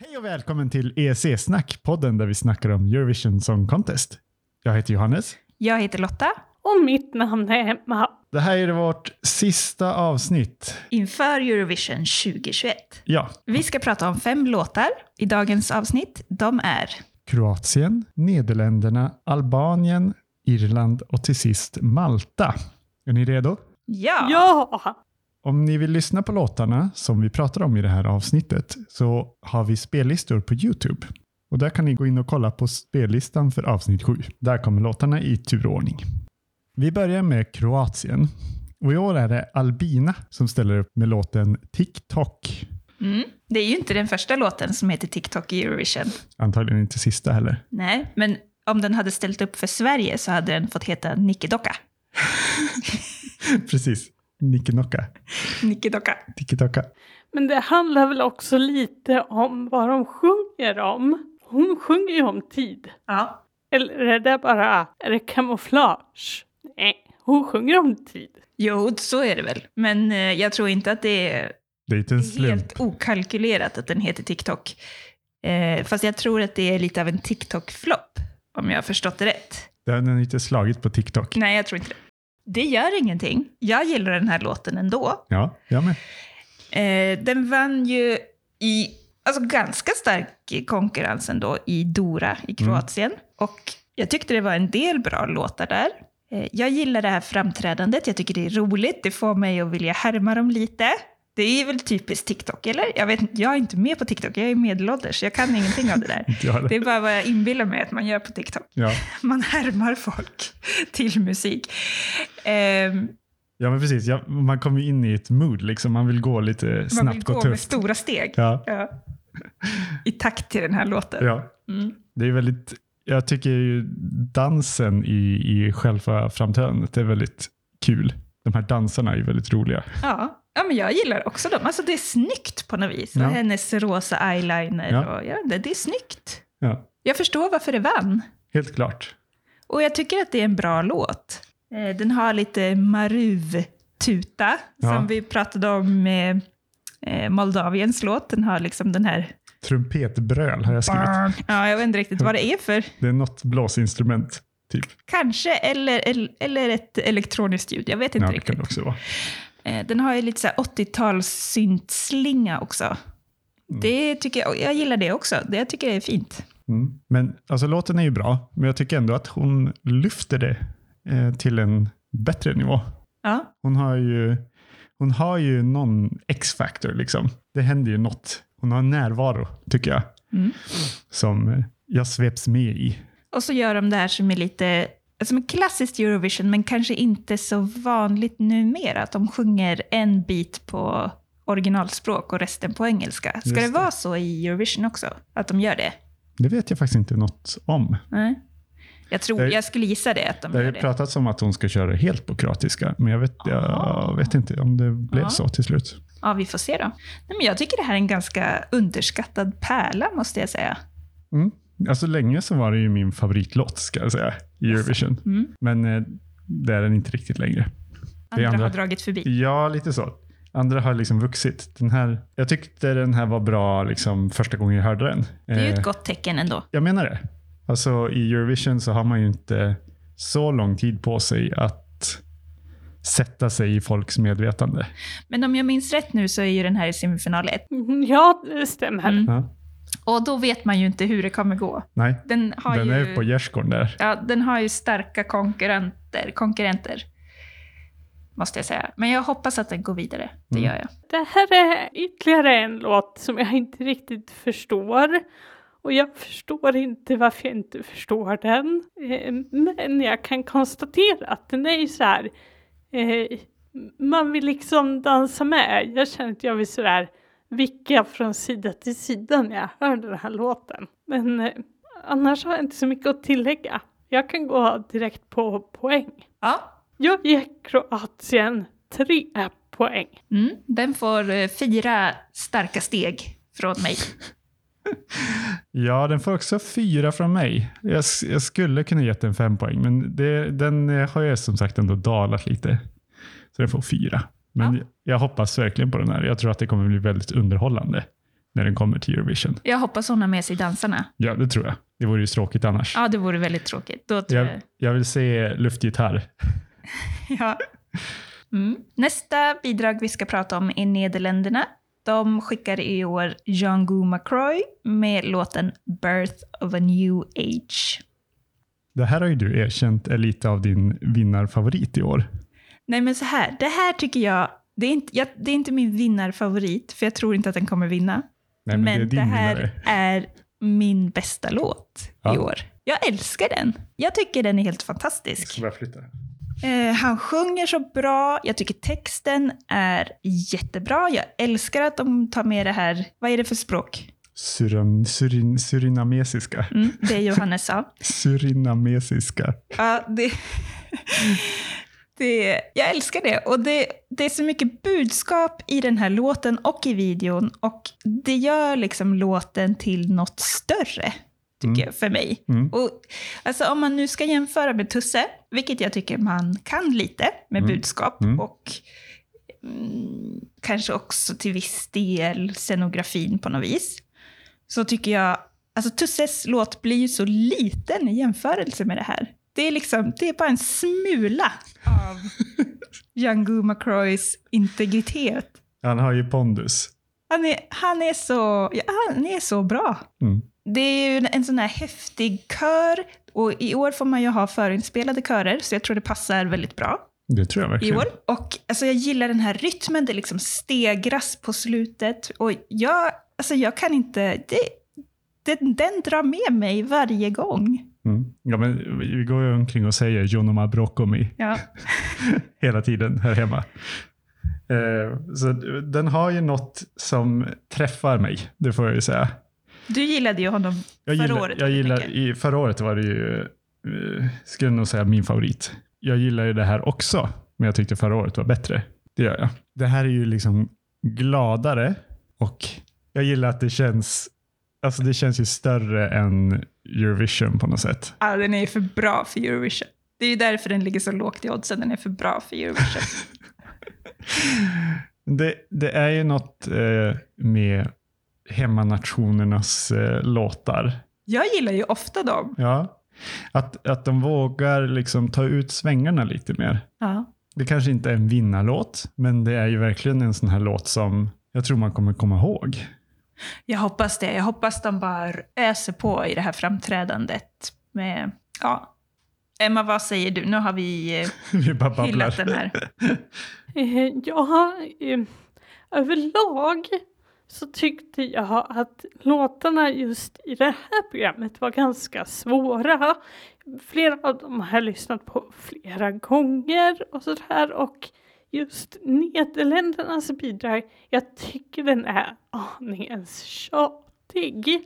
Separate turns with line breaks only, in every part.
Hej och välkommen till EEC-snack, podden där vi snackar om Eurovision Song Contest. Jag heter Johannes.
Jag heter Lotta.
Och mitt namn är Emma.
Det här är vårt sista avsnitt.
Inför Eurovision 2021.
Ja,
Vi ska prata om fem låtar i dagens avsnitt. De är
Kroatien, Nederländerna, Albanien, Irland och till sist Malta. Är ni redo?
Ja!
Ja!
Om ni vill lyssna på låtarna som vi pratar om i det här avsnittet så har vi spellistor på Youtube. Och där kan ni gå in och kolla på spellistan för avsnitt 7. Där kommer låtarna i turordning. Vi börjar med Kroatien. Och i år är det Albina som ställer upp med låten TikTok.
Mm. Det är ju inte den första låten som heter TikTok i Eurovision.
Antagligen inte sista heller.
Nej, men om den hade ställt upp för Sverige så hade den fått heta Nickedocka.
Precis. Nickenocka.
Nickedocka.
Tikitocka.
Men det handlar väl också lite om vad de sjunger om. Hon sjunger ju om tid.
Ja.
Eller är det bara, är det kamouflage? Nej, hon sjunger om tid.
Jo, så är det väl. Men eh, jag tror inte att det är
Det är inte en slump.
helt okalkylerat att den heter TikTok. Eh, fast jag tror att det är lite av en TikTok-flopp, om jag har förstått det rätt.
Den har inte slagit på TikTok.
Nej, jag tror inte det. Det gör ingenting. Jag gillar den här låten ändå.
Ja, jag med.
Eh, den vann ju i alltså, ganska stark konkurrens ändå i Dora i Kroatien. Och jag tyckte det var en del bra låtar där. Eh, jag gillar det här framträdandet. Jag tycker det är roligt. Det får mig att vilja härma dem lite. Det är väl typiskt TikTok, eller? Jag, vet, inte, jag är inte med på TikTok. Jag är medelålders. Jag kan ingenting av det där.
Inte jag heller.
Det är bara vad jag inbillar mig att man gör på TikTok.
Ja.
Man härmar folk till musik. Ehm,
Ja, men precis. Ja, man kommer ju in i ett mood. Liksom. Man vill gå lite
man vill
snabbt och
gå med
tufft.
stora steg.
Ja,
Ja. I takt till den här låten.
ja.
Mm.
Det är väldigt, jag tycker ju dansen i, i själva framträdandet är väldigt kul. De här dansarna är ju väldigt roliga.
Ja. ja, men jag gillar också dem. Alltså det är snyggt på något vis.
Ja.
Och hennes rosa eyeliner.
Ja.
Och, ja, det, det är snyggt.
Ja,
Jag förstår varför det vann.
helt klart.
Och jag tycker att det är en bra låt. Eh, Den har lite maruv-tuta,
Ja.
som vi pratade om med eh, Moldaviens låt. Den har liksom den här...
Trumpetbröl har jag skrivit.
Ja, jag vet inte riktigt vad det är för
Det är något blåsinstrument, typ.
Kanske, eller, eller, eller ett elektroniskt ljud. Jag vet inte
Ja, det kan det
riktigt.
också vara.
Eh, Den har ju lite så här 80-tals syntslinga också.
Mm.
Det tycker jag, och jag gillar det också. Det jag tycker jag är fint.
Mm. Men alltså, låten är ju bra, men jag tycker ändå att hon lyfter det eh, till en bättre nivå.
Ja.
Hon har ju, hon har ju någon X-factor liksom. Det händer ju något. Hon har en närvaro, tycker jag,
Mm.
som eh, jag sveps med i.
Och så gör de det här som är lite som är klassiskt Eurovision, men kanske inte så vanligt numera. Att de sjunger en bit på originalspråk och resten på engelska. Ska
Just
det,
det.
vara så i Eurovision också? Att de gör det?
Det vet jag faktiskt inte något om.
Nej. Jag, tror,
Det-
jag skulle gissa det, att de
Det har
gör
ju
det.
pratats om att hon ska köra helt på kroatiska, men jag vet, jag
Ah.
vet inte om det blev
Ah.
så till slut.
Ja, vi får se då. Nej, men jag tycker det här är en ganska underskattad pärla, måste jag säga.
Mm. Alltså länge så var det ju min favoritlåt, ska jag säga, i Eurovision.
Mm.
Men eh, det är den inte riktigt längre. Det är
Andra, har
andra.
dragit förbi.
Ja, lite så. Andra har liksom vuxit. Den här, jag tyckte den här var bra liksom, första gången jag hörde den.
Det är ju
Eh,
ett gott tecken ändå.
Jag menar det. Alltså i Eurovision så har man ju inte så lång tid på sig att sätta sig i folks medvetande.
Men om jag minns rätt nu så är ju den här i semifinal 1.
Mm, Ja, det stämmer.
Mm.
Ja.
Och då vet man ju inte hur det kommer gå.
Nej,
Den har,
den är
ju,
ju på gärdsgården där.
ja, den har ju starka konkurrenter, konkurrenter, måste jag säga. Men jag hoppas att den går vidare. Det
Mm.
gör jag.
Det här är ytterligare en låt som jag inte riktigt förstår. Och jag förstår inte varför jag inte förstår den. Eh, Men jag kan konstatera att den är ju så här. eh, Man vill liksom dansa med. Jag känner att jag vill så där vicka från sida till sida när jag hör den här låten. Men eh, annars har jag inte så mycket att tillägga. Jag kan gå direkt på poäng.
Ja,
Jag ger Kroatien tre poäng.
mm. den får eh, fyra starka steg från mig.
Ja, den får också fyra från mig. Jag, s- jag skulle kunna gett den fem poäng, men det, den eh, har jag som sagt ändå dalat lite. Så den får fyra. Men jag hoppas verkligen på den här. Jag tror att det kommer bli väldigt underhållande. när den kommer till Eurovision.
Jag hoppas hon har med sig dansarna.
Ja, det tror jag. Det vore ju tråkigt annars.
Ja, det vore väldigt tråkigt. Då tror
jag, jag vill se luftgitarr.
jag. Ja. Mm. Nästa bidrag vi ska prata om är Nederländerna. De skickar i år Django McCroy med låten Birth of a New Age.
Det här har ju du erkänt är lite av din vinnarfavorit i år.
Nej men så här, det här tycker jag, det är inte, jag, det är inte min vinnarfavorit, för jag tror inte att den kommer vinna.
Nej, men, det, är din
här
vinnare.
är min bästa låt i
Ja.
år. Jag älskar den. Jag tycker den är helt fantastisk.
Ska bara flytta den?
Eh, han sjunger så bra. Jag tycker texten är jättebra. Jag älskar att de tar med det här. Vad är det för språk?
Surin, surin, surinamesiska.
Mm, det Johannes sa.
Surinamesiska.
Ja, det, det, jag älskar det. Och det, det är så mycket budskap i den här låten och i videon. Och det gör liksom låten till något större, tycker
Mm.
jag, för mig.
Mm.
Och, alltså, om man nu ska jämföra med Tusse, vilket jag tycker man kan lite med
Mm.
budskap
Mm.
och mm, kanske också till viss del scenografin på något vis, så tycker jag Alltså Tusses låt blir ju så liten i jämförelse med det här. Det är liksom, det är bara en smula av Django McCroys integritet.
Han har ju pondus.
Han är, han är, så, ja, han är så bra.
Mm.
Det är ju en sån här häftig kör. Och i år får man ju ha förinspelade körer, så jag tror det passar väldigt bra
Det tror jag
i
verkligen.
år. Och alltså, jag gillar den här rytmen, det liksom stegras på slutet. Och jag, alltså, jag kan inte... Det, det, den drar med mig varje gång.
Mm. Ja, men vi går ju omkring och säger Jonoma Broccomi
Ja.
hela tiden här hemma. Eh, så den har ju något som träffar mig, det får jag ju säga.
Du gillade ju honom
Jag
förra
gillar,
året
jag
väldigt
gillar,
mycket.
i, Förra året var det ju, eh, skulle jag nog säga, min favorit. Jag gillar ju det här också, men jag tyckte förra året var bättre. Det gör jag. Det här är ju liksom gladare och jag gillar att det känns, alltså det känns ju större än Eurovision på något sätt.
Ja, den är ju för bra för Eurovision. Det är ju därför den ligger så lågt i oddsen. Den är för bra för Eurovision.
Det, det är ju något eh, med hemmanationernas eh, låtar.
Jag gillar ju ofta dem.
Ja. Att, att de vågar liksom ta ut svängarna lite mer.
Ja.
Det kanske inte är en vinnarlåt, men det är ju verkligen en sån här låt som jag tror man kommer komma ihåg.
Jag hoppas det. Jag hoppas de bara öser på i det här framträdandet. Med, ja. Emma, vad säger du? Nu har vi eh,
Vi bara babblar.
hyllat den här.
Eh, Ja, eh, överlag så tyckte jag att låtarna just i det här programmet var ganska svåra. Flera av dem har jag lyssnat på flera gånger och sådär och just Nederländernas bidrag, jag tycker den är aningens tjatig.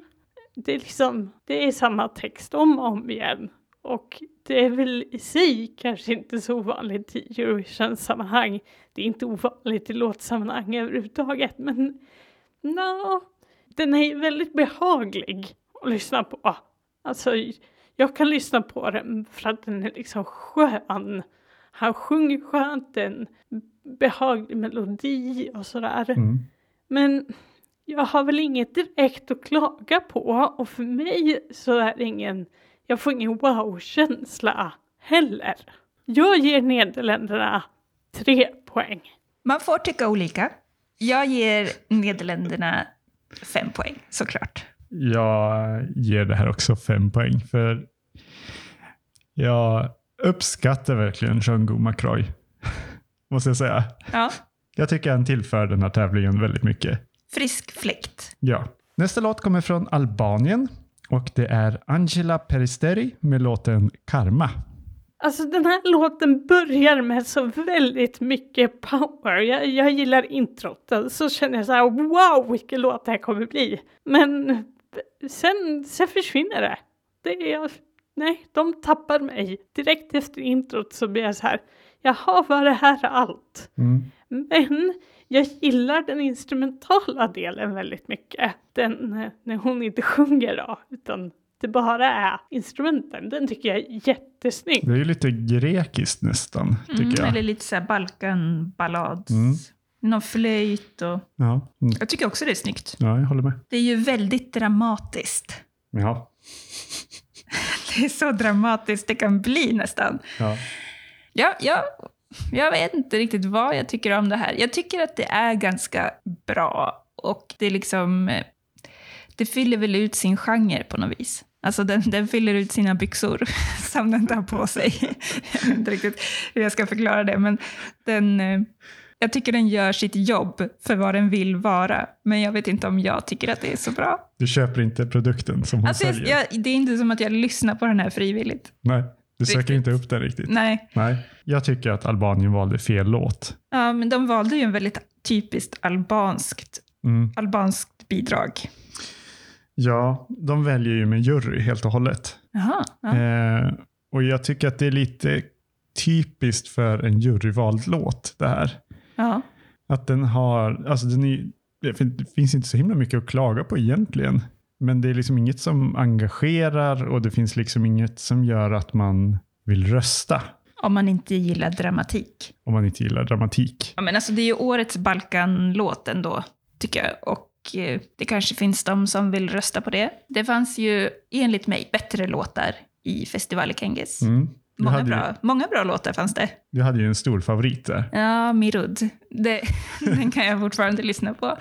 Det är liksom, det är samma text om och om igen. Och det är väl i sig kanske inte så ovanligt i Eurovision-sammanhang. Det är inte ovanligt i låtsammanhang överhuvudtaget, men no. Den är väldigt behaglig att lyssna på. Alltså, jag kan lyssna på den för att den är liksom skön. Han sjunger skönt, en behaglig melodi och sådär.
Mm.
Men jag har väl inget direkt att klaga på och för mig så är det ingen, jag får ingen wow-känsla heller. Jag ger Nederländerna tre poäng.
Man får tycka olika. Jag ger Nederländerna fem poäng, såklart.
Jag ger det här också fem poäng, för jag uppskattar verkligen Django McCroy. Måste jag säga.
Ja.
Jag tycker han tillför den här tävlingen väldigt mycket.
Frisk fläkt.
Ja. Nästa låt kommer från Albanien och det är Angela Peristeri med låten Karma.
Alltså den här låten börjar med så väldigt mycket power. Jag, jag gillar introt. Så känner jag så här, wow vilken låt det här kommer bli. Men sen, sen försvinner det. det är, nej, de tappar mig. Direkt efter introt så blir jag så här, jaha var det här allt?
Mm.
Men jag gillar den instrumentala delen väldigt mycket. Den eh, när hon inte sjunger då, utan det bara är instrumenten. Den tycker jag är jättesnygg.
Det
Mm,
är ju lite grekiskt nästan, tycker jag.
Eller lite så här Balkan-ballads.
Mm.
Någon flöjt och...
Ja, mm.
Jag tycker också det är snyggt.
ja jag håller med.
Det är ju väldigt dramatiskt.
Ja.
Det är så dramatiskt det kan bli nästan.
ja.
Ja, jag, jag vet inte riktigt vad jag tycker om det här. Jag tycker att det är ganska bra och det är liksom... eh, Det fyller väl ut sin genre på något vis. Alltså den, den fyller ut sina byxor som den tar på sig. jag vet inte riktigt hur jag ska förklara det, men den... eh, Jag tycker den gör sitt jobb för vad den vill vara, men jag vet inte om jag tycker att det är så bra.
Du köper inte produkten som hon
Alltså jag,
säljer?
jag, det är inte som att jag lyssnar på den här frivilligt.
Nej, du söker
Riktigt.
inte upp den riktigt.
Nej.
Nej. Jag tycker att Albanien valde fel låt.
Ja, men de valde ju en väldigt typiskt albanskt,
Mm.
albanskt bidrag.
Ja, de väljer ju med jury helt och hållet.
Jaha. Ja.
Eh, och jag tycker att det är lite typiskt för en juryvald låt det här.
ja.
Att den har, alltså den är, det fin- det finns inte så himla mycket att klaga på egentligen. Men det är liksom inget som engagerar och det finns liksom inget som gör att man vill rösta
Om man inte gillar dramatik.
om man inte gillar dramatik.
Ja, men alltså, det är ju årets Balkanlåt ändå, tycker jag. Och eh, det kanske finns de som vill rösta på det. Det fanns ju, enligt mig, bättre låtar i Festival Kengis.
Mm. Du,
Många,
hade ju,
bra, många bra låtar fanns det.
du hade ju en stor favorit där.
Ja, Mirud. Det, den kan jag fortfarande lyssna på.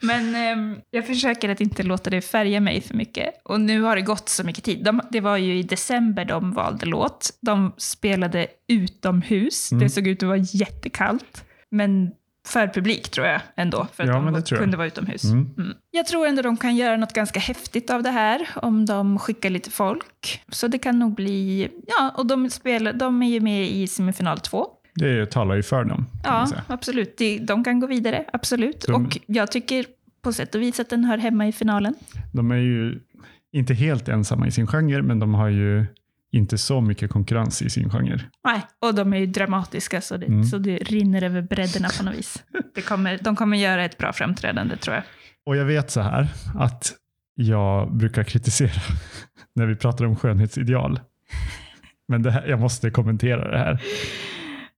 Men ehm, jag försöker att inte låta det färga mig för mycket. Och nu har det gått så mycket tid. De, det var ju i december de valde låt. De spelade utomhus.
Mm.
Det såg ut att vara jättekallt. Men för publik tror jag ändå. För att
Ja,
de
men det
var-
tror jag.
kunde vara utomhus.
Mm.
Mm. Jag tror ändå de kan göra något ganska häftigt av det här om de skickar lite folk. Så det kan nog bli... Ja, och de, spelar, de är ju med i semifinal två.
Det talar ju för dem. Kan man
Ja,
säga.
absolut. De, de kan gå vidare, absolut.
De-
Och jag tycker på sätt och vis att den hör hemma i finalen.
De är ju inte helt ensamma i sin genre, men de har ju inte så mycket konkurrens i sin genre.
Nej, och de är ju dramatiska så det,
Mm.
så det rinner över bredderna på något vis. Det kommer, de kommer göra ett bra framträdande tror jag.
Och jag vet så här att jag brukar kritisera när vi pratar om skönhetsideal. Men det här, jag måste kommentera det här.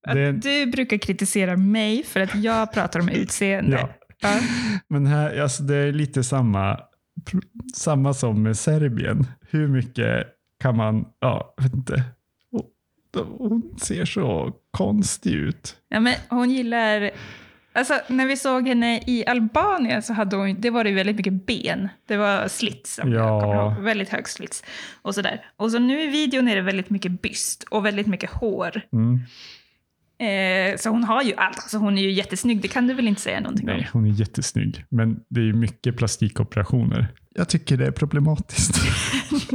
Att
Det är en-
Du brukar kritisera mig för att jag pratar om utseende.
Ja.
Ja.
Men här, alltså det är lite samma, samma som med Serbien. Hur mycket kan man, ja, jag vet inte. Hon- Hon ser så konstig ut.
Ja, men hon gillar... Alltså, när vi såg henne i Albanien så hade hon, det var det väldigt mycket ben. Det var slits, om
Ja.
jag kommer ihåg. Väldigt hög slits. Och, sådär. och så nu i videon är det väldigt mycket byst och väldigt mycket hår.
Mm.
Eh, så hon har ju allt. Alltså, hon är ju jättesnygg, det kan du väl inte säga någonting om?
Nej, hon är jättesnygg. Men det är mycket plastikoperationer. Jag tycker det är problematiskt.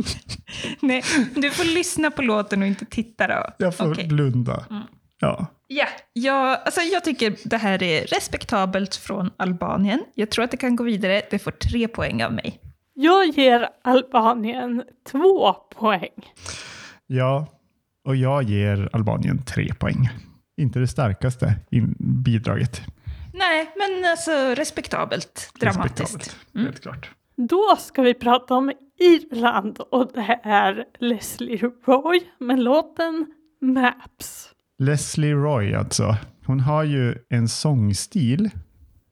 Nej, du får lyssna på låten och inte titta då.
Jag får
Okej.
blunda.
Mm.
Ja.
Ja, jag, alltså jag tycker det här är respektabelt från Albanien. Jag tror att det kan gå vidare. Det får tre poäng av mig.
Jag ger Albanien två poäng.
ja, och jag ger Albanien tre poäng. Inte det starkaste in- bidraget.
Nej, men alltså respektabelt. Dramatiskt.
Respektabelt,
Mm.
Helt klart.
Då ska vi prata om Irland och det är Leslie Roy med låten Maps.
Leslie Roy alltså. Hon har ju en sångstil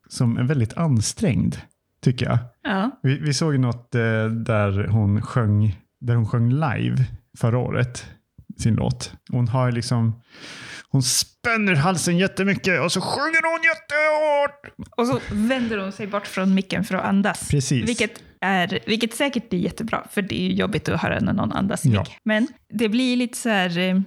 som är väldigt ansträngd, tycker jag.
Ja.
Vi, vi såg ju något eh, där, hon sjöng, där hon sjöng live förra året, sin låt. Hon har ju liksom, hon spänner halsen jättemycket och så sjunger hon jättehårt.
Och så vänder hon sig bort från micken för att andas.
Precis.
Vilket, är, vilket säkert blir jättebra, för det är ju jobbigt att höra när någon andas i
Ja.
mick. Men det blir lite så här... eh,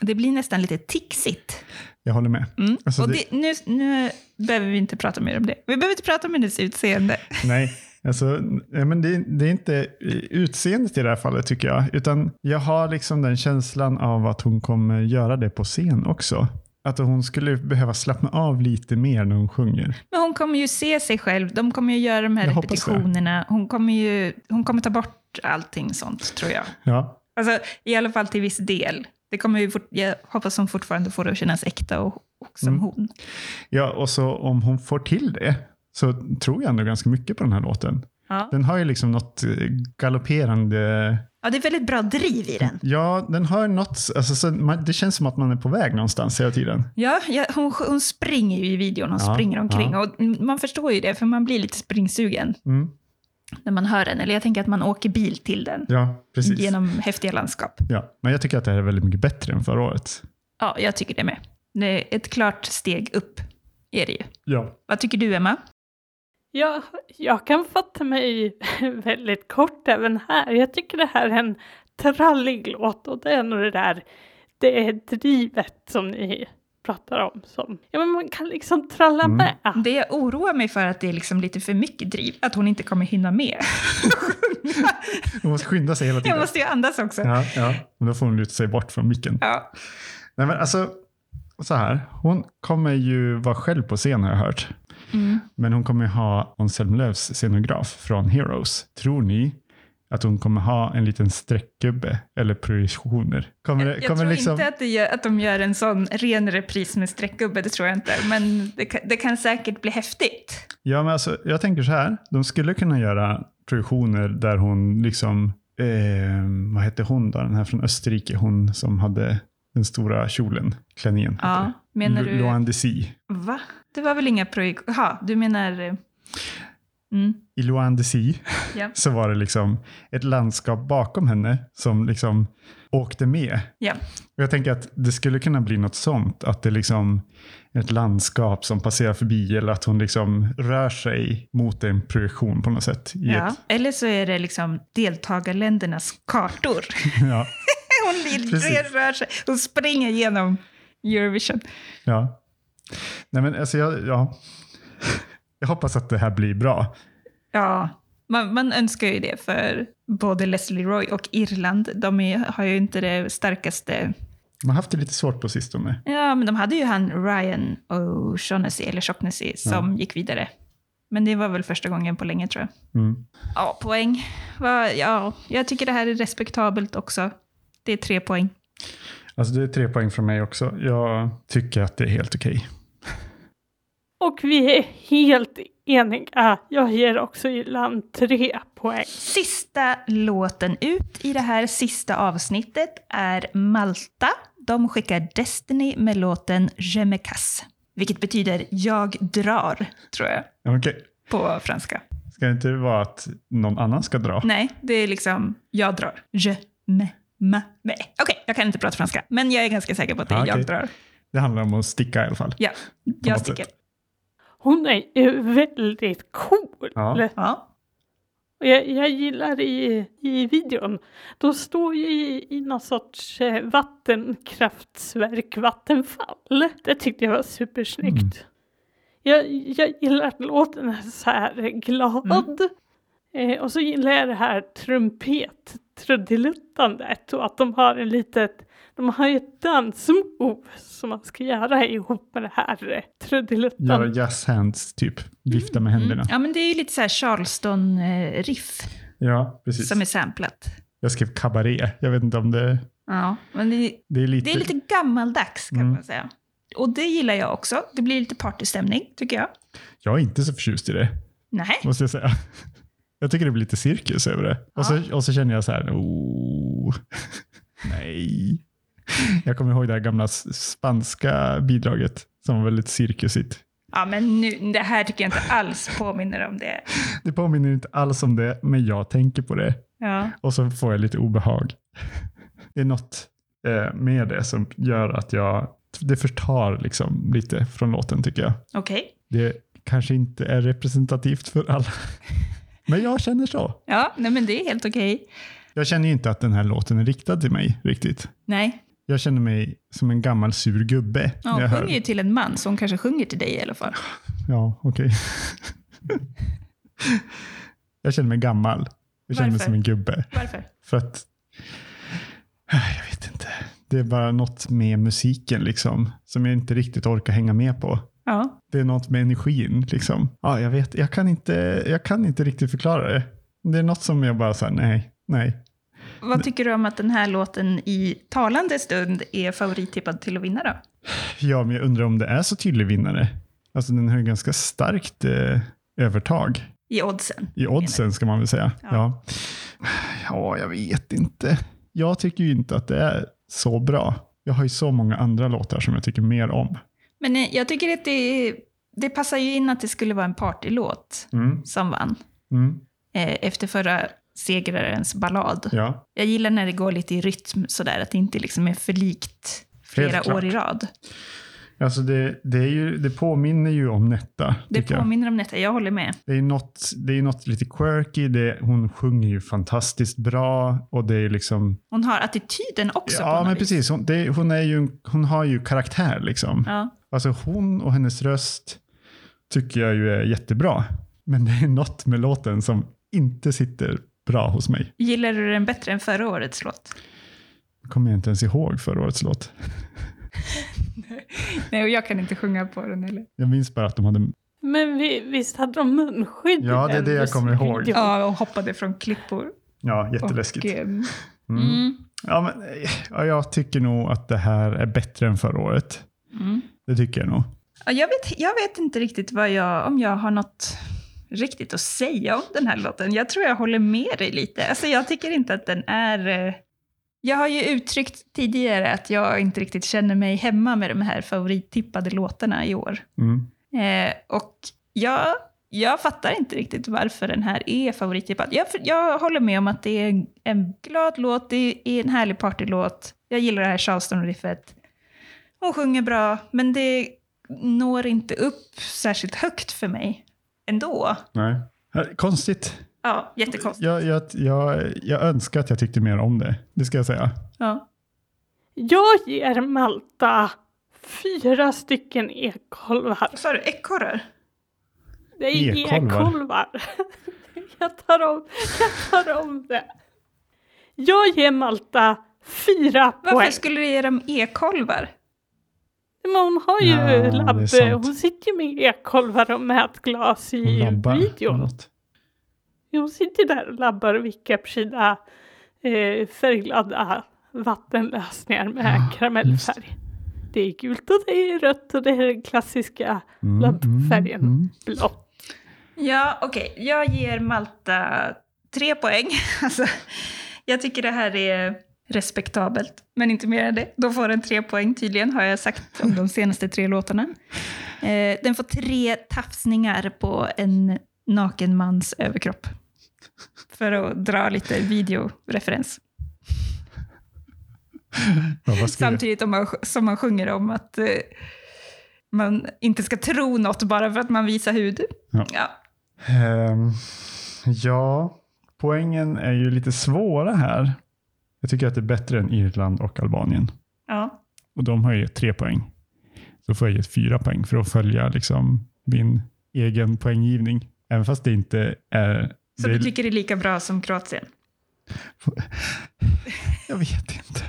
Det blir nästan lite tixigt.
Jag håller med.
Mm.
Alltså
och
det-
det, nu, nu behöver vi inte prata mer om det. Vi behöver inte prata om hennes utseende.
Nej, alltså, nej, men det, det är inte utseendet i det här fallet tycker jag. Utan jag har liksom den känslan av att hon kommer göra det på scen också. Att hon skulle behöva slappna av lite mer när hon sjunger.
Men hon kommer ju se sig själv. De kommer ju göra de här
Jag hoppas det.
repetitionerna. Hon kommer ju hon kommer ta bort allting sånt, tror jag.
Ja,
Alltså, I alla fall till viss del. Det kommer ju fort, jag hoppas hon fortfarande får det att kännas äkta och, och som
Mm.
hon.
ja och så om hon får till det så tror jag ändå ganska mycket på den här låten.
Ja.
Den har ju liksom något eh, galopperande
Ja, det är väldigt bra driv i den.
Ja, den har något, alltså, så man, det känns som att man är på väg någonstans hela tiden.
Ja, ja hon, hon springer ju i videon. Hon
Ja,
springer omkring.
ja.
Och man förstår ju det, för man blir lite springsugen
Mm.
när man hör den. Eller jag tänker att man åker bil till den
Ja, precis.
genom häftiga landskap.
Ja. Men jag tycker att det här är väldigt mycket bättre än förra året.
Ja, jag tycker det med. Det är ett klart steg upp, är det ju.
Ja.
Vad tycker du, Emma?
Ja, jag kan fatta mig väldigt kort även här. Jag tycker det här är en trallig låt och det är nog det där, det är drivet som ni pratar om. Som, ja, men man kan liksom tralla
Mm.
med.
Det jag oroar mig för att det är liksom lite för mycket driv, att hon inte kommer hinna med.
Hon måste skynda sig hela tiden.
Jag måste ju andas också.
Ja, ja. Men då får hon luta sig bort från micken.
Ja.
Nej, men alltså, så här. Hon kommer ju vara själv på scen har jag hört.
Mm.
Men hon kommer ha Måns Zelmerlöws scenograf från Heroes. Tror ni att hon kommer ha en liten streckgubbe eller projektioner? Kommer, det-
Jag
kommer
tror
liksom,
inte att, det gör, att de gör en sån ren repris med streckgubbe, det tror jag inte. Men det kan, det kan säkert bli häftigt.
Ja, men alltså, jag tänker så här. De skulle kunna göra projektioner där hon liksom... Eh, vad hette hon då? Den här från Österrike. Hon som hade den stora kjolen, klänningen. heter
Ja,
det.
menar
Lo-
du...
Loan Desi.
Va? Det var väl inga projekt... Jaha, du menar... eh, Mm,
I Loan Desi
ja.
så var det liksom ett landskap bakom henne som liksom åkte med.
Ja.
Och jag tänker att det skulle kunna bli något sånt. Att det liksom är ett landskap som passerar förbi eller att hon liksom rör sig mot en projektion på något sätt. I
Ja.
Ett,
Eller så är det liksom deltagarländernas kartor.
ja,
Hon lill-
Precis.
rör sig. Hon springer genom Eurovision.
ja. Nej men alltså jag, ja. jag hoppas att det här blir bra.
Ja, man, man önskar ju det för både Leslie Roy och Irland. De är, har ju inte det starkaste...
Man har haft det lite svårt på sistone.
Ja, men de hade ju han Ryan O'Shaughnessy, eller Shocknessy, som gick vidare. Men det var väl första gången på länge tror jag.
Mm.
Ja, poäng. Va, ja, jag tycker det här är respektabelt också. Det är tre poäng.
Alltså det är tre poäng från mig också. Jag tycker att det är helt okej.
Och vi är helt eniga. Jag ger också Irland tre poäng.
Sista låten ut i det här sista avsnittet är Malta. De skickar Destiny med låten Je me casse, vilket betyder jag drar, tror jag,
Okej,
på franska.
ska det inte vara att någon annan ska dra?
Nej, det är liksom jag drar. Je me ma me. Okej, jag kan inte prata franska, men jag är ganska säker på att det är
Ja, Ah, okej.
jag drar.
Det handlar om att sticka i alla fall.
Ja, jag
något
sticker.
sätt.
Hon är ju väldigt cool.
Ja.
Ja.
Och jag, jag gillar i, i videon, de står ju i, i någon sorts eh, vattenkraftverk, vattenfall. Det tyckte jag var supersnyggt.
Mm.
Jag, jag gillar att låten är så här glad.
Mm.
Eh, och så gillar jag det här trumpet-trudeluttandet och att de har en litet, de har ju ett dansmove som man ska göra ihop med det här eh,
Göra
trudeluttandet.
jazz hands, typ. Vifta med händerna.
Mm. ja, men det är ju lite så här Charleston-riff
Ja, precis.
som är samplat.
Jag skrev kabaré. Jag vet inte om det...
Ja, men det,
Det är lite...
Det är lite gammaldags kan
Mm.
man säga. Och det gillar jag också. Det blir lite partystämning, tycker jag.
Jag är inte så förtjust i det,
Nej.
måste jag säga. Jag tycker det blir lite cirkus över det. Och, så, och så känner jag så här, oh, nej. Jag kommer ihåg det här gamla s- spanska bidraget som var väldigt cirkusigt.
Ja, men nu, det här tycker jag inte alls påminner om det.
Det påminner inte alls om det, men jag tänker på det.
Ja.
Och så får jag lite obehag. Det är något eh, med det som gör att jag... Det förtar liksom lite från låten tycker jag.
Okej.
Det kanske inte är representativt för alla. Men jag känner så.
Ja, nej, men det är helt okej.
Jag känner ju inte att den här låten är riktad till mig riktigt.
Nej.
Jag känner mig som en gammal sur gubbe.
Ja,
när
hon
jag hör.
sjunger ju till en man, så hon kanske sjunger till dig i alla fall.
Ja, okej. jag känner mig gammal. Jag känner mig
Varför?
som en gubbe.
Varför?
För att... äh, Jag vet inte. Det är bara något med musiken liksom. Som jag inte riktigt orkar hänga med på.
Ja.
Det är något med energin liksom. Ja, jag vet. Jag kan inte, jag kan inte riktigt förklara det. Det är något som jag bara säger nej, nej.
Vad tycker du om att den här låten i talande stund är favorittippad till att vinna då?
Ja, men jag undrar om det är så tydlig vinnare. Alltså den har ju ganska starkt eh, övertag.
I oddsen?
I oddsen ska man väl säga.
Ja.
Ja. ja, jag vet inte. inte, jag tycker ju inte att det är så bra. Jag har ju så många andra låtar som jag tycker mer om.
Men eh, jag tycker att det, det passar ju in att det skulle vara en partylåt
Mm,
som vann
mm,
eh, efter förra segrarens ballad.
ja,
Jag gillar när det går lite i rytm sådär, att det inte liksom är för likt
Helt
flera
klart.
år i rad.
alltså det, det, är ju, det påminner ju om Netta.
Det
tycker jag.
påminner om detta, jag håller med.
Det är något, det är något lite quirky. Det, hon sjunger ju fantastiskt bra. Och det är liksom...
Hon har attityden också på
ja,
något
men
vis.
precis. Hon, det, hon, är ju, hon har ju karaktär liksom.
Ja.
Alltså hon och hennes röst tycker jag ju är jättebra. Men det är något med låten som inte sitter bra hos mig.
Gillar du den bättre än förra årets låt?
Kommer jag inte ens ihåg förra årets låt.
Nej, och jag kan inte sjunga på den heller.
Jag minns bara att de hade...
Men vi, visst hade de munskydd i
Ja, det är
den
det jag kommer ihåg.
musikvideon?
Ja, och hoppade från klippor.
Ja, jätteläskigt.
Och, ehm,
Mm.
mm.
Ja, men, eh, ja, jag tycker nog att det här är bättre än förra året.
Mm.
Det tycker jag nog.
Ja, Jag, vet, jag vet inte riktigt vad jag, om jag har något riktigt att säga om den här låten. Jag tror jag håller med dig lite. Alltså, jag tycker inte att den är... eh, Jag har ju uttryckt tidigare att jag inte riktigt känner mig hemma med de här favorittippade låtarna i år.
Mm.
Eh, och jag, jag fattar inte riktigt varför den här är favorittippad. Jag, jag håller med om att det är en, en glad låt, det är en härlig partylåt. Jag gillar det här Charleston-riffet. Hon sjunger bra, men det når inte upp särskilt högt för mig ändå.
Nej. Eh, Konstigt.
Ja, jättekonstigt.
Jag, jag, jag, jag önskar att jag tyckte mer om det. Det ska jag säga.
Ja.
Jag ger Malta fyra stycken ekolvar.
Vad sa du? Ekorrar?
Det är
E-kolvar.
e-kolvar. jag, tar om, jag tar om det. Jag ger Malta fyra
Varför
poäng.
skulle du ge dem ekolvar?
Men hon har ju
Ja, det är
labb.
sant.
Hon sitter ju med e-kolvar och mätglas
Hon
i
labbar.
videon.
något.
Hon sitter där och labbar och vickar på sina eh, färgglada vattenlösningar med
Ja,
karamellfärg. Det är gult och det är rött och det är den klassiska
Mm,
labbfärgen
mm, mm.
blått.
Ja, okej. Jag ger Malta tre poäng. Alltså, jag tycker det här är respektabelt, men inte mer än det. Då får den tre poäng tydligen, har jag sagt om de senaste tre låtarna. Eh, den får tre tafsningar på en naken mans överkropp. För att dra lite videoreferens.
Ja, vad ska jag-
Samtidigt om man, som man sjunger om att eh, man inte ska tro något bara för att man visar hud.
Ja.
Ja.
Ehm, ja, poängen är ju lite svåra här. Jag tycker att det är bättre än Irland och Albanien.
ja.
Och de har ju gett tre poäng. Då får jag ge fyra poäng för att följa liksom min egen poänggivning. Även fast det inte är...
Så
det,
du tycker det är lika bra som Kroatien?
Jag vet inte.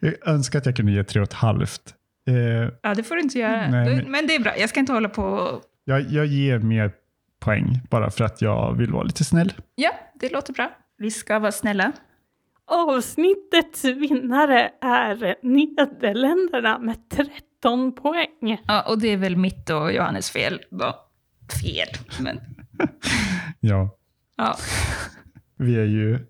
Jag önskar att jag kunde ge tre och ett halvt. Eh,
Ja, det får du inte göra.
Nej,
Du-
men-
men... det är bra, jag ska inte hålla på...
Jag, jag ger mer poäng bara för att jag vill vara lite snäll.
Ja, det låter bra. Vi ska vara snälla.
Avsnittets vinnare är Nederländerna med 13 poäng.
Ja, och det är väl mitt och Johannes fel. Då. Fel, men...
Ja,
Ja.
vi är ju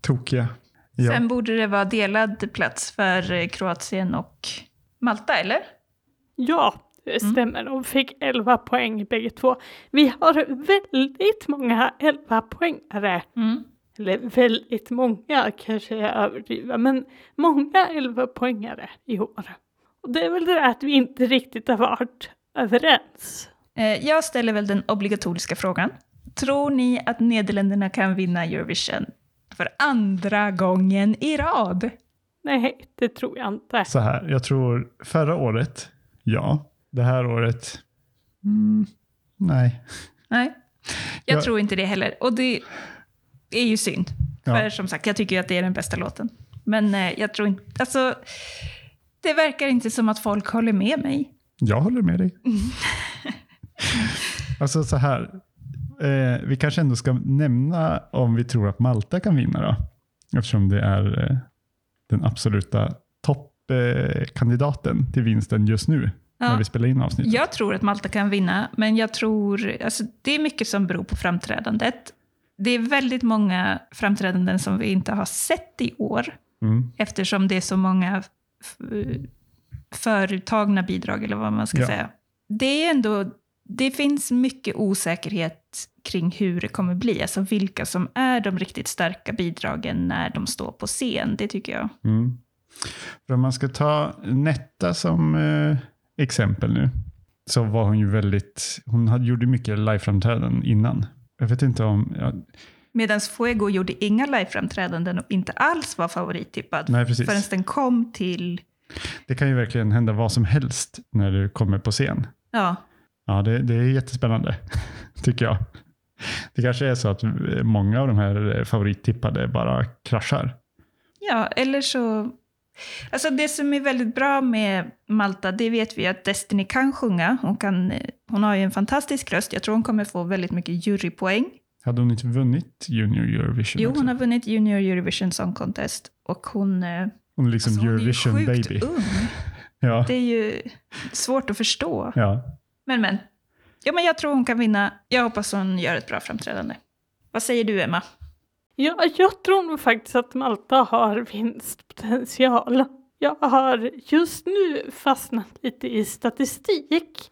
tokiga. Ja.
Sen borde det vara delad plats för eh, Kroatien och Malta, eller?
Ja, det stämmer. De fick 11 poäng bägge två. Vi har väldigt många 11 poängare.
Mm.
Eller väldigt många kanske jag överdriver, men många 11 poängare i år. Och det är väl det där att vi inte riktigt har varit överens.
Eh, Jag ställer väl den obligatoriska frågan. Tror ni att Nederländerna kan vinna Eurovision för andra gången i rad?
Nej, det tror jag inte.
Så här, jag tror förra året, ja. Det här året, mm, nej.
Nej, jag
Jag-
tror inte det heller. Och det är ju synd.
Ja.
För som sagt, jag tycker ju att det är den bästa låten. Men eh, jag tror inte... Alltså, det verkar inte som att folk håller med mig.
Jag håller med dig. alltså så här, eh, vi kanske ändå ska nämna om vi tror att Malta kan vinna då. Eftersom det är eh, den absoluta toppkandidaten eh, kandidaten till vinsten just nu. När
Ja.
vi spelar in avsnittet.
Jag tror att Malta kan vinna, men jag tror... Alltså, det är mycket som beror på framträdandet. Det är väldigt många framträdanden som vi inte har sett i år,
Mm.
eftersom det är så många f- föruttagna bidrag, eller vad man ska
Ja.
säga. Det är ändå, det finns mycket osäkerhet kring hur det kommer bli, alltså vilka som är de riktigt starka bidragen när de står på scen, det tycker jag.
Mm. För om man ska ta Netta som eh, exempel nu, så var hon ju väldigt, hon hade, gjorde mycket liveframträdanden innan. Jag vet inte om, ja,
Medan Fuego gjorde inga liveframträdanden och inte alls var favorittippad
nej precis.
förrän den kom till,
Det kan ju verkligen hända vad som helst när du kommer på scen.
ja,
Ja, det, det är jättespännande, tycker jag. Det kanske är så att många av de här favorittippade bara kraschar.
Ja, eller så... Alltså det som är väldigt bra med Malta, det vet vi att Destiny kan sjunga. Hon, kan, eh, hon har ju en fantastisk röst. Jag tror hon kommer få väldigt mycket jurypoäng.
Hade hon inte vunnit Junior Eurovision?
Jo,
också?
hon har vunnit Junior Eurovision Song Contest och hon, eh,
hon är liksom
alltså, hon är ju
Eurovision
sjukt
baby.
ung.
Ja,
Det är ju svårt att förstå.
ja.
Men, men. Ja, men jag tror hon kan vinna. Jag hoppas hon gör ett bra framträdande. Vad säger du, Emma?
Ja, jag tror nog faktiskt att Malta har vinstpotential. Jag har just nu fastnat lite i statistik.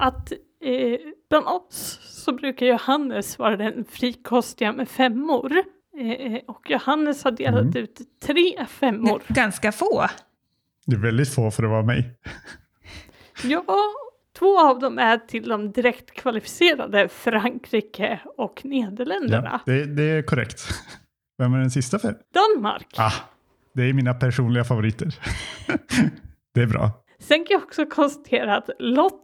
Att eh, bland oss så brukar Johannes vara den frikostiga med femmor. Eh, och Johannes har delat
Mm.
ut tre femmor.
Ganska få.
Det är väldigt få för att vara mig.
Ja, två av dem är till de direkt kvalificerade Frankrike och Nederländerna.
Ja, det, det är korrekt. Vem är den sista för?
Danmark.
Ah, det är mina personliga favoriter. det är bra.
Sen kan jag också konstatera att Lotta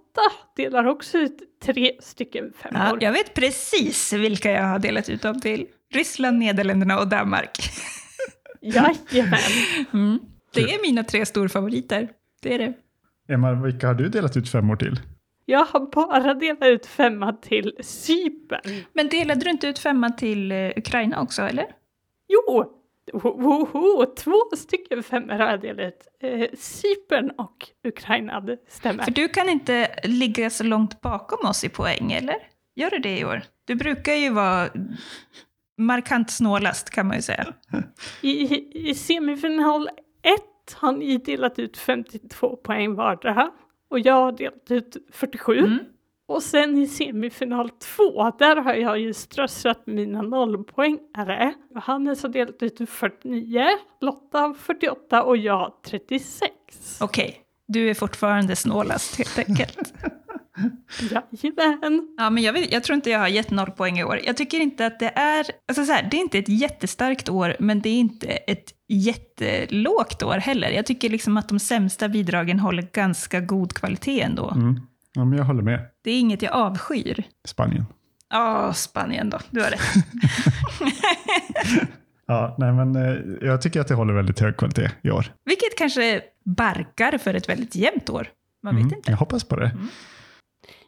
delar också ut tre stycken
Ja,
femmor.
jag vet precis vilka jag har delat ut dem till. Ryssland, Nederländerna och Danmark.
Jajamän.
Mm. Det
Kul.
är mina tre storfavoriter. Det är det.
Emma, vilka har du delat ut fem år till?
Jag har bara delat ut femma till Cypern.
Men delade du inte ut femma till eh, Ukraina också, eller?
Jo! Ohoho, två stycken femmor har jag delat ut. Eh, Cypern och Ukraina, det stämmer.
För du kan inte ligga så långt bakom oss i poäng, eller? Gör du det i år? Du brukar ju vara markant snålast, kan man ju säga.
I, I semifinal 1 har ni delat ut 52 poäng vardera och jag har delat ut 47.
Mm.
Och sen i semifinal 2, där har jag ju strösslat mina nollpoängare. Johannes har delat ut 49, Lotta 48 och jag 36.
Okej, du är fortfarande snålast, helt enkelt.
Jajamän!
Ja, men jag, vet, jag tror inte jag har gett noll poäng i år. Jag tycker inte att det är... Alltså så här, det är inte ett jättestarkt år, men det är inte ett jättelågt år heller. Jag tycker liksom att de sämsta bidragen håller ganska god kvalitet ändå.
Mm. Ja, men jag håller med.
Det är inget jag avskyr.
Spanien.
Ja, Spanien då. Du har rätt.
Ja, nej, men eh, jag tycker att det håller väldigt hög kvalitet i år.
Vilket kanske barkar för ett väldigt jämnt år. Man vet
Mm,
inte.
Jag hoppas på det.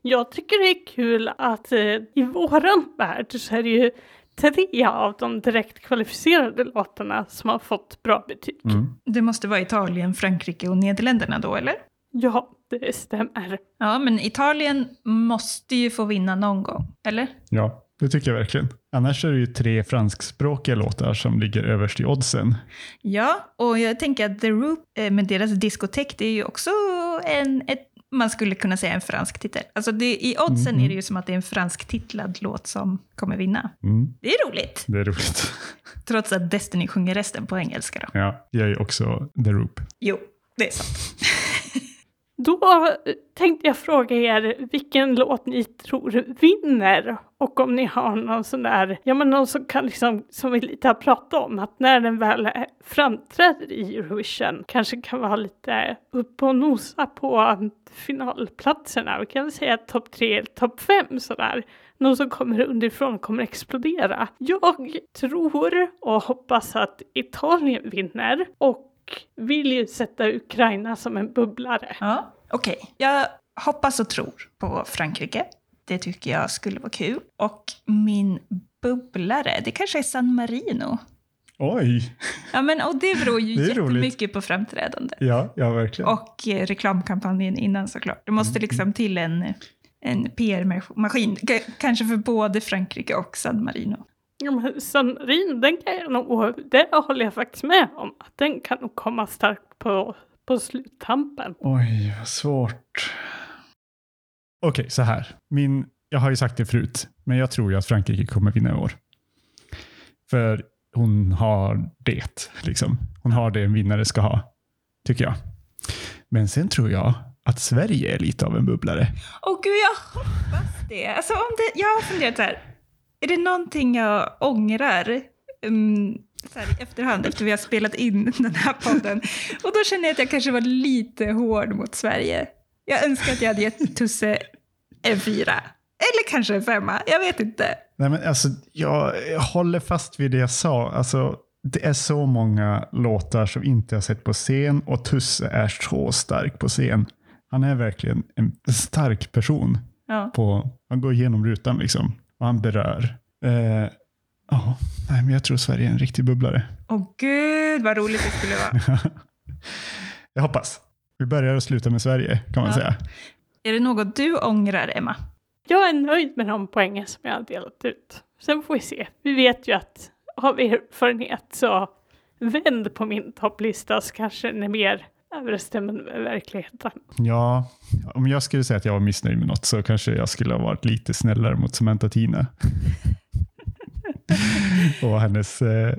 Jag tycker det är kul att eh, i våran värld så är det ju tre av de direkt kvalificerade låtarna som har fått bra betyg.
Mm.
Det måste vara Italien, Frankrike och Nederländerna då, eller?
Ja, det stämmer.
Ja, men Italien måste ju få vinna någon gång, eller?
Ja, det tycker jag verkligen. Annars är det ju tre franskspråkiga låtar som ligger överst i oddsen.
Ja, och jag tänker att The Roop eh, med deras diskotek, det är ju också en, ett, man skulle kunna säga en fransk titel. Alltså det, i oddsen
Mm.
är det ju som att det är en fransktitlad låt som kommer vinna.
Mm.
Det är roligt,
Det är roligt.
trots att Destiny sjunger resten på engelska då.
Ja, jag är ju också The Roop.
Jo, det är sant.
Då eh, tänkte jag fråga er vilken låt ni tror vinner och om ni har någon sån där, ja men någon som kan liksom, som vi lite har pratat om, att när den väl eh, framträder i Eurovision kanske kan vara lite upp och nosa på eh, finalplatserna. Vi kan väl säga topp tre, eller topp fem sådär. Någon som kommer underifrån och kommer explodera. Jag tror och hoppas att Italien vinner och vill ju sätta Ukraina som en bubblare.
Ja, okej. Jag hoppas och tror på Frankrike. Det tycker jag skulle vara kul. Och min bubblare, det kanske är San Marino.
Oj!
Ja, men, och det beror ju
Det är roligt.
jättemycket på framträdande.
Ja, ja verkligen.
Och eh, reklamkampanjen innan såklart. Det måste
Mm.
liksom till en, en PR-maskin. K- kanske för både Frankrike och San Marino.
Ja, men Sanrin, den kan jag nog, det håller jag faktiskt med om. Att den kan nog komma starkt på, på sluttampen.
Oj, vad svårt. Okej, så här. Min, jag har ju sagt det förut, men jag tror ju att Frankrike kommer vinna i år. För hon har det, liksom. Hon har det en vinnare ska ha, tycker jag. Men sen tror jag att Sverige är lite av en bubblare.
Åh gud, jag hoppas det. Alltså, om det. Jag har funderat så här. Är det någonting jag ångrar um, så här, i efterhand efter vi har spelat in den här podden? Och då känner jag att jag kanske var lite hård mot Sverige. Jag önskar att jag hade gett Tusse en fyra. Eller kanske en femma. Jag vet inte.
Nej, men alltså, jag, jag håller fast vid det jag sa. Alltså, det är så många låtar som inte har sett på scen och Tusse är så stark på scen. Han är verkligen en stark person.
Ja.
På, han går igenom rutan liksom. Och han berör. Eh, ja, nej, men jag tror Sverige är en riktig bubblare.
Åh gud, vad roligt det skulle vara.
jag hoppas. Vi börjar och slutar med Sverige kan man
Ja.
säga.
Är det något du ångrar, Emma?
Jag är nöjd med de poängen som jag har delat ut. Sen får vi se. Vi vet ju att av erfarenhet så vänd på min topplista så kanske den är mer överensstämmande med verkligheten.
Ja, om jag skulle säga att jag var missnöjd med något så kanske jag skulle ha varit lite snällare mot Samantha Tina. och hennes eh,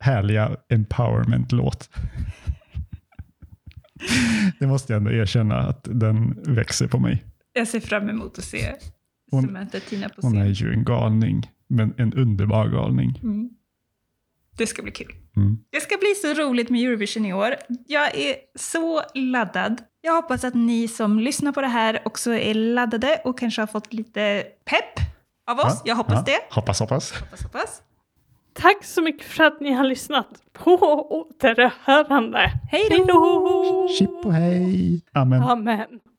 härliga empowerment-låt. Det måste jag ändå erkänna att den växer på mig.
Jag ser fram emot att se
Hon-
Samantha Tina på
Hon är
scen.
ju en galning, men en underbar galning.
Mm. Det ska bli kul.
Mm.
Det ska bli så roligt med Eurovision i år. Jag är så laddad. Jag hoppas att ni som lyssnar på det här också är laddade och kanske har fått lite pepp av oss.
Ja,
Jag hoppas
ja.
det.
Hoppas, hoppas.
Hoppas, hoppas.
Tack så mycket för att ni har lyssnat. På återhörande.
Hej då!
Hej då!
Chip och hej! Amen.
Amen.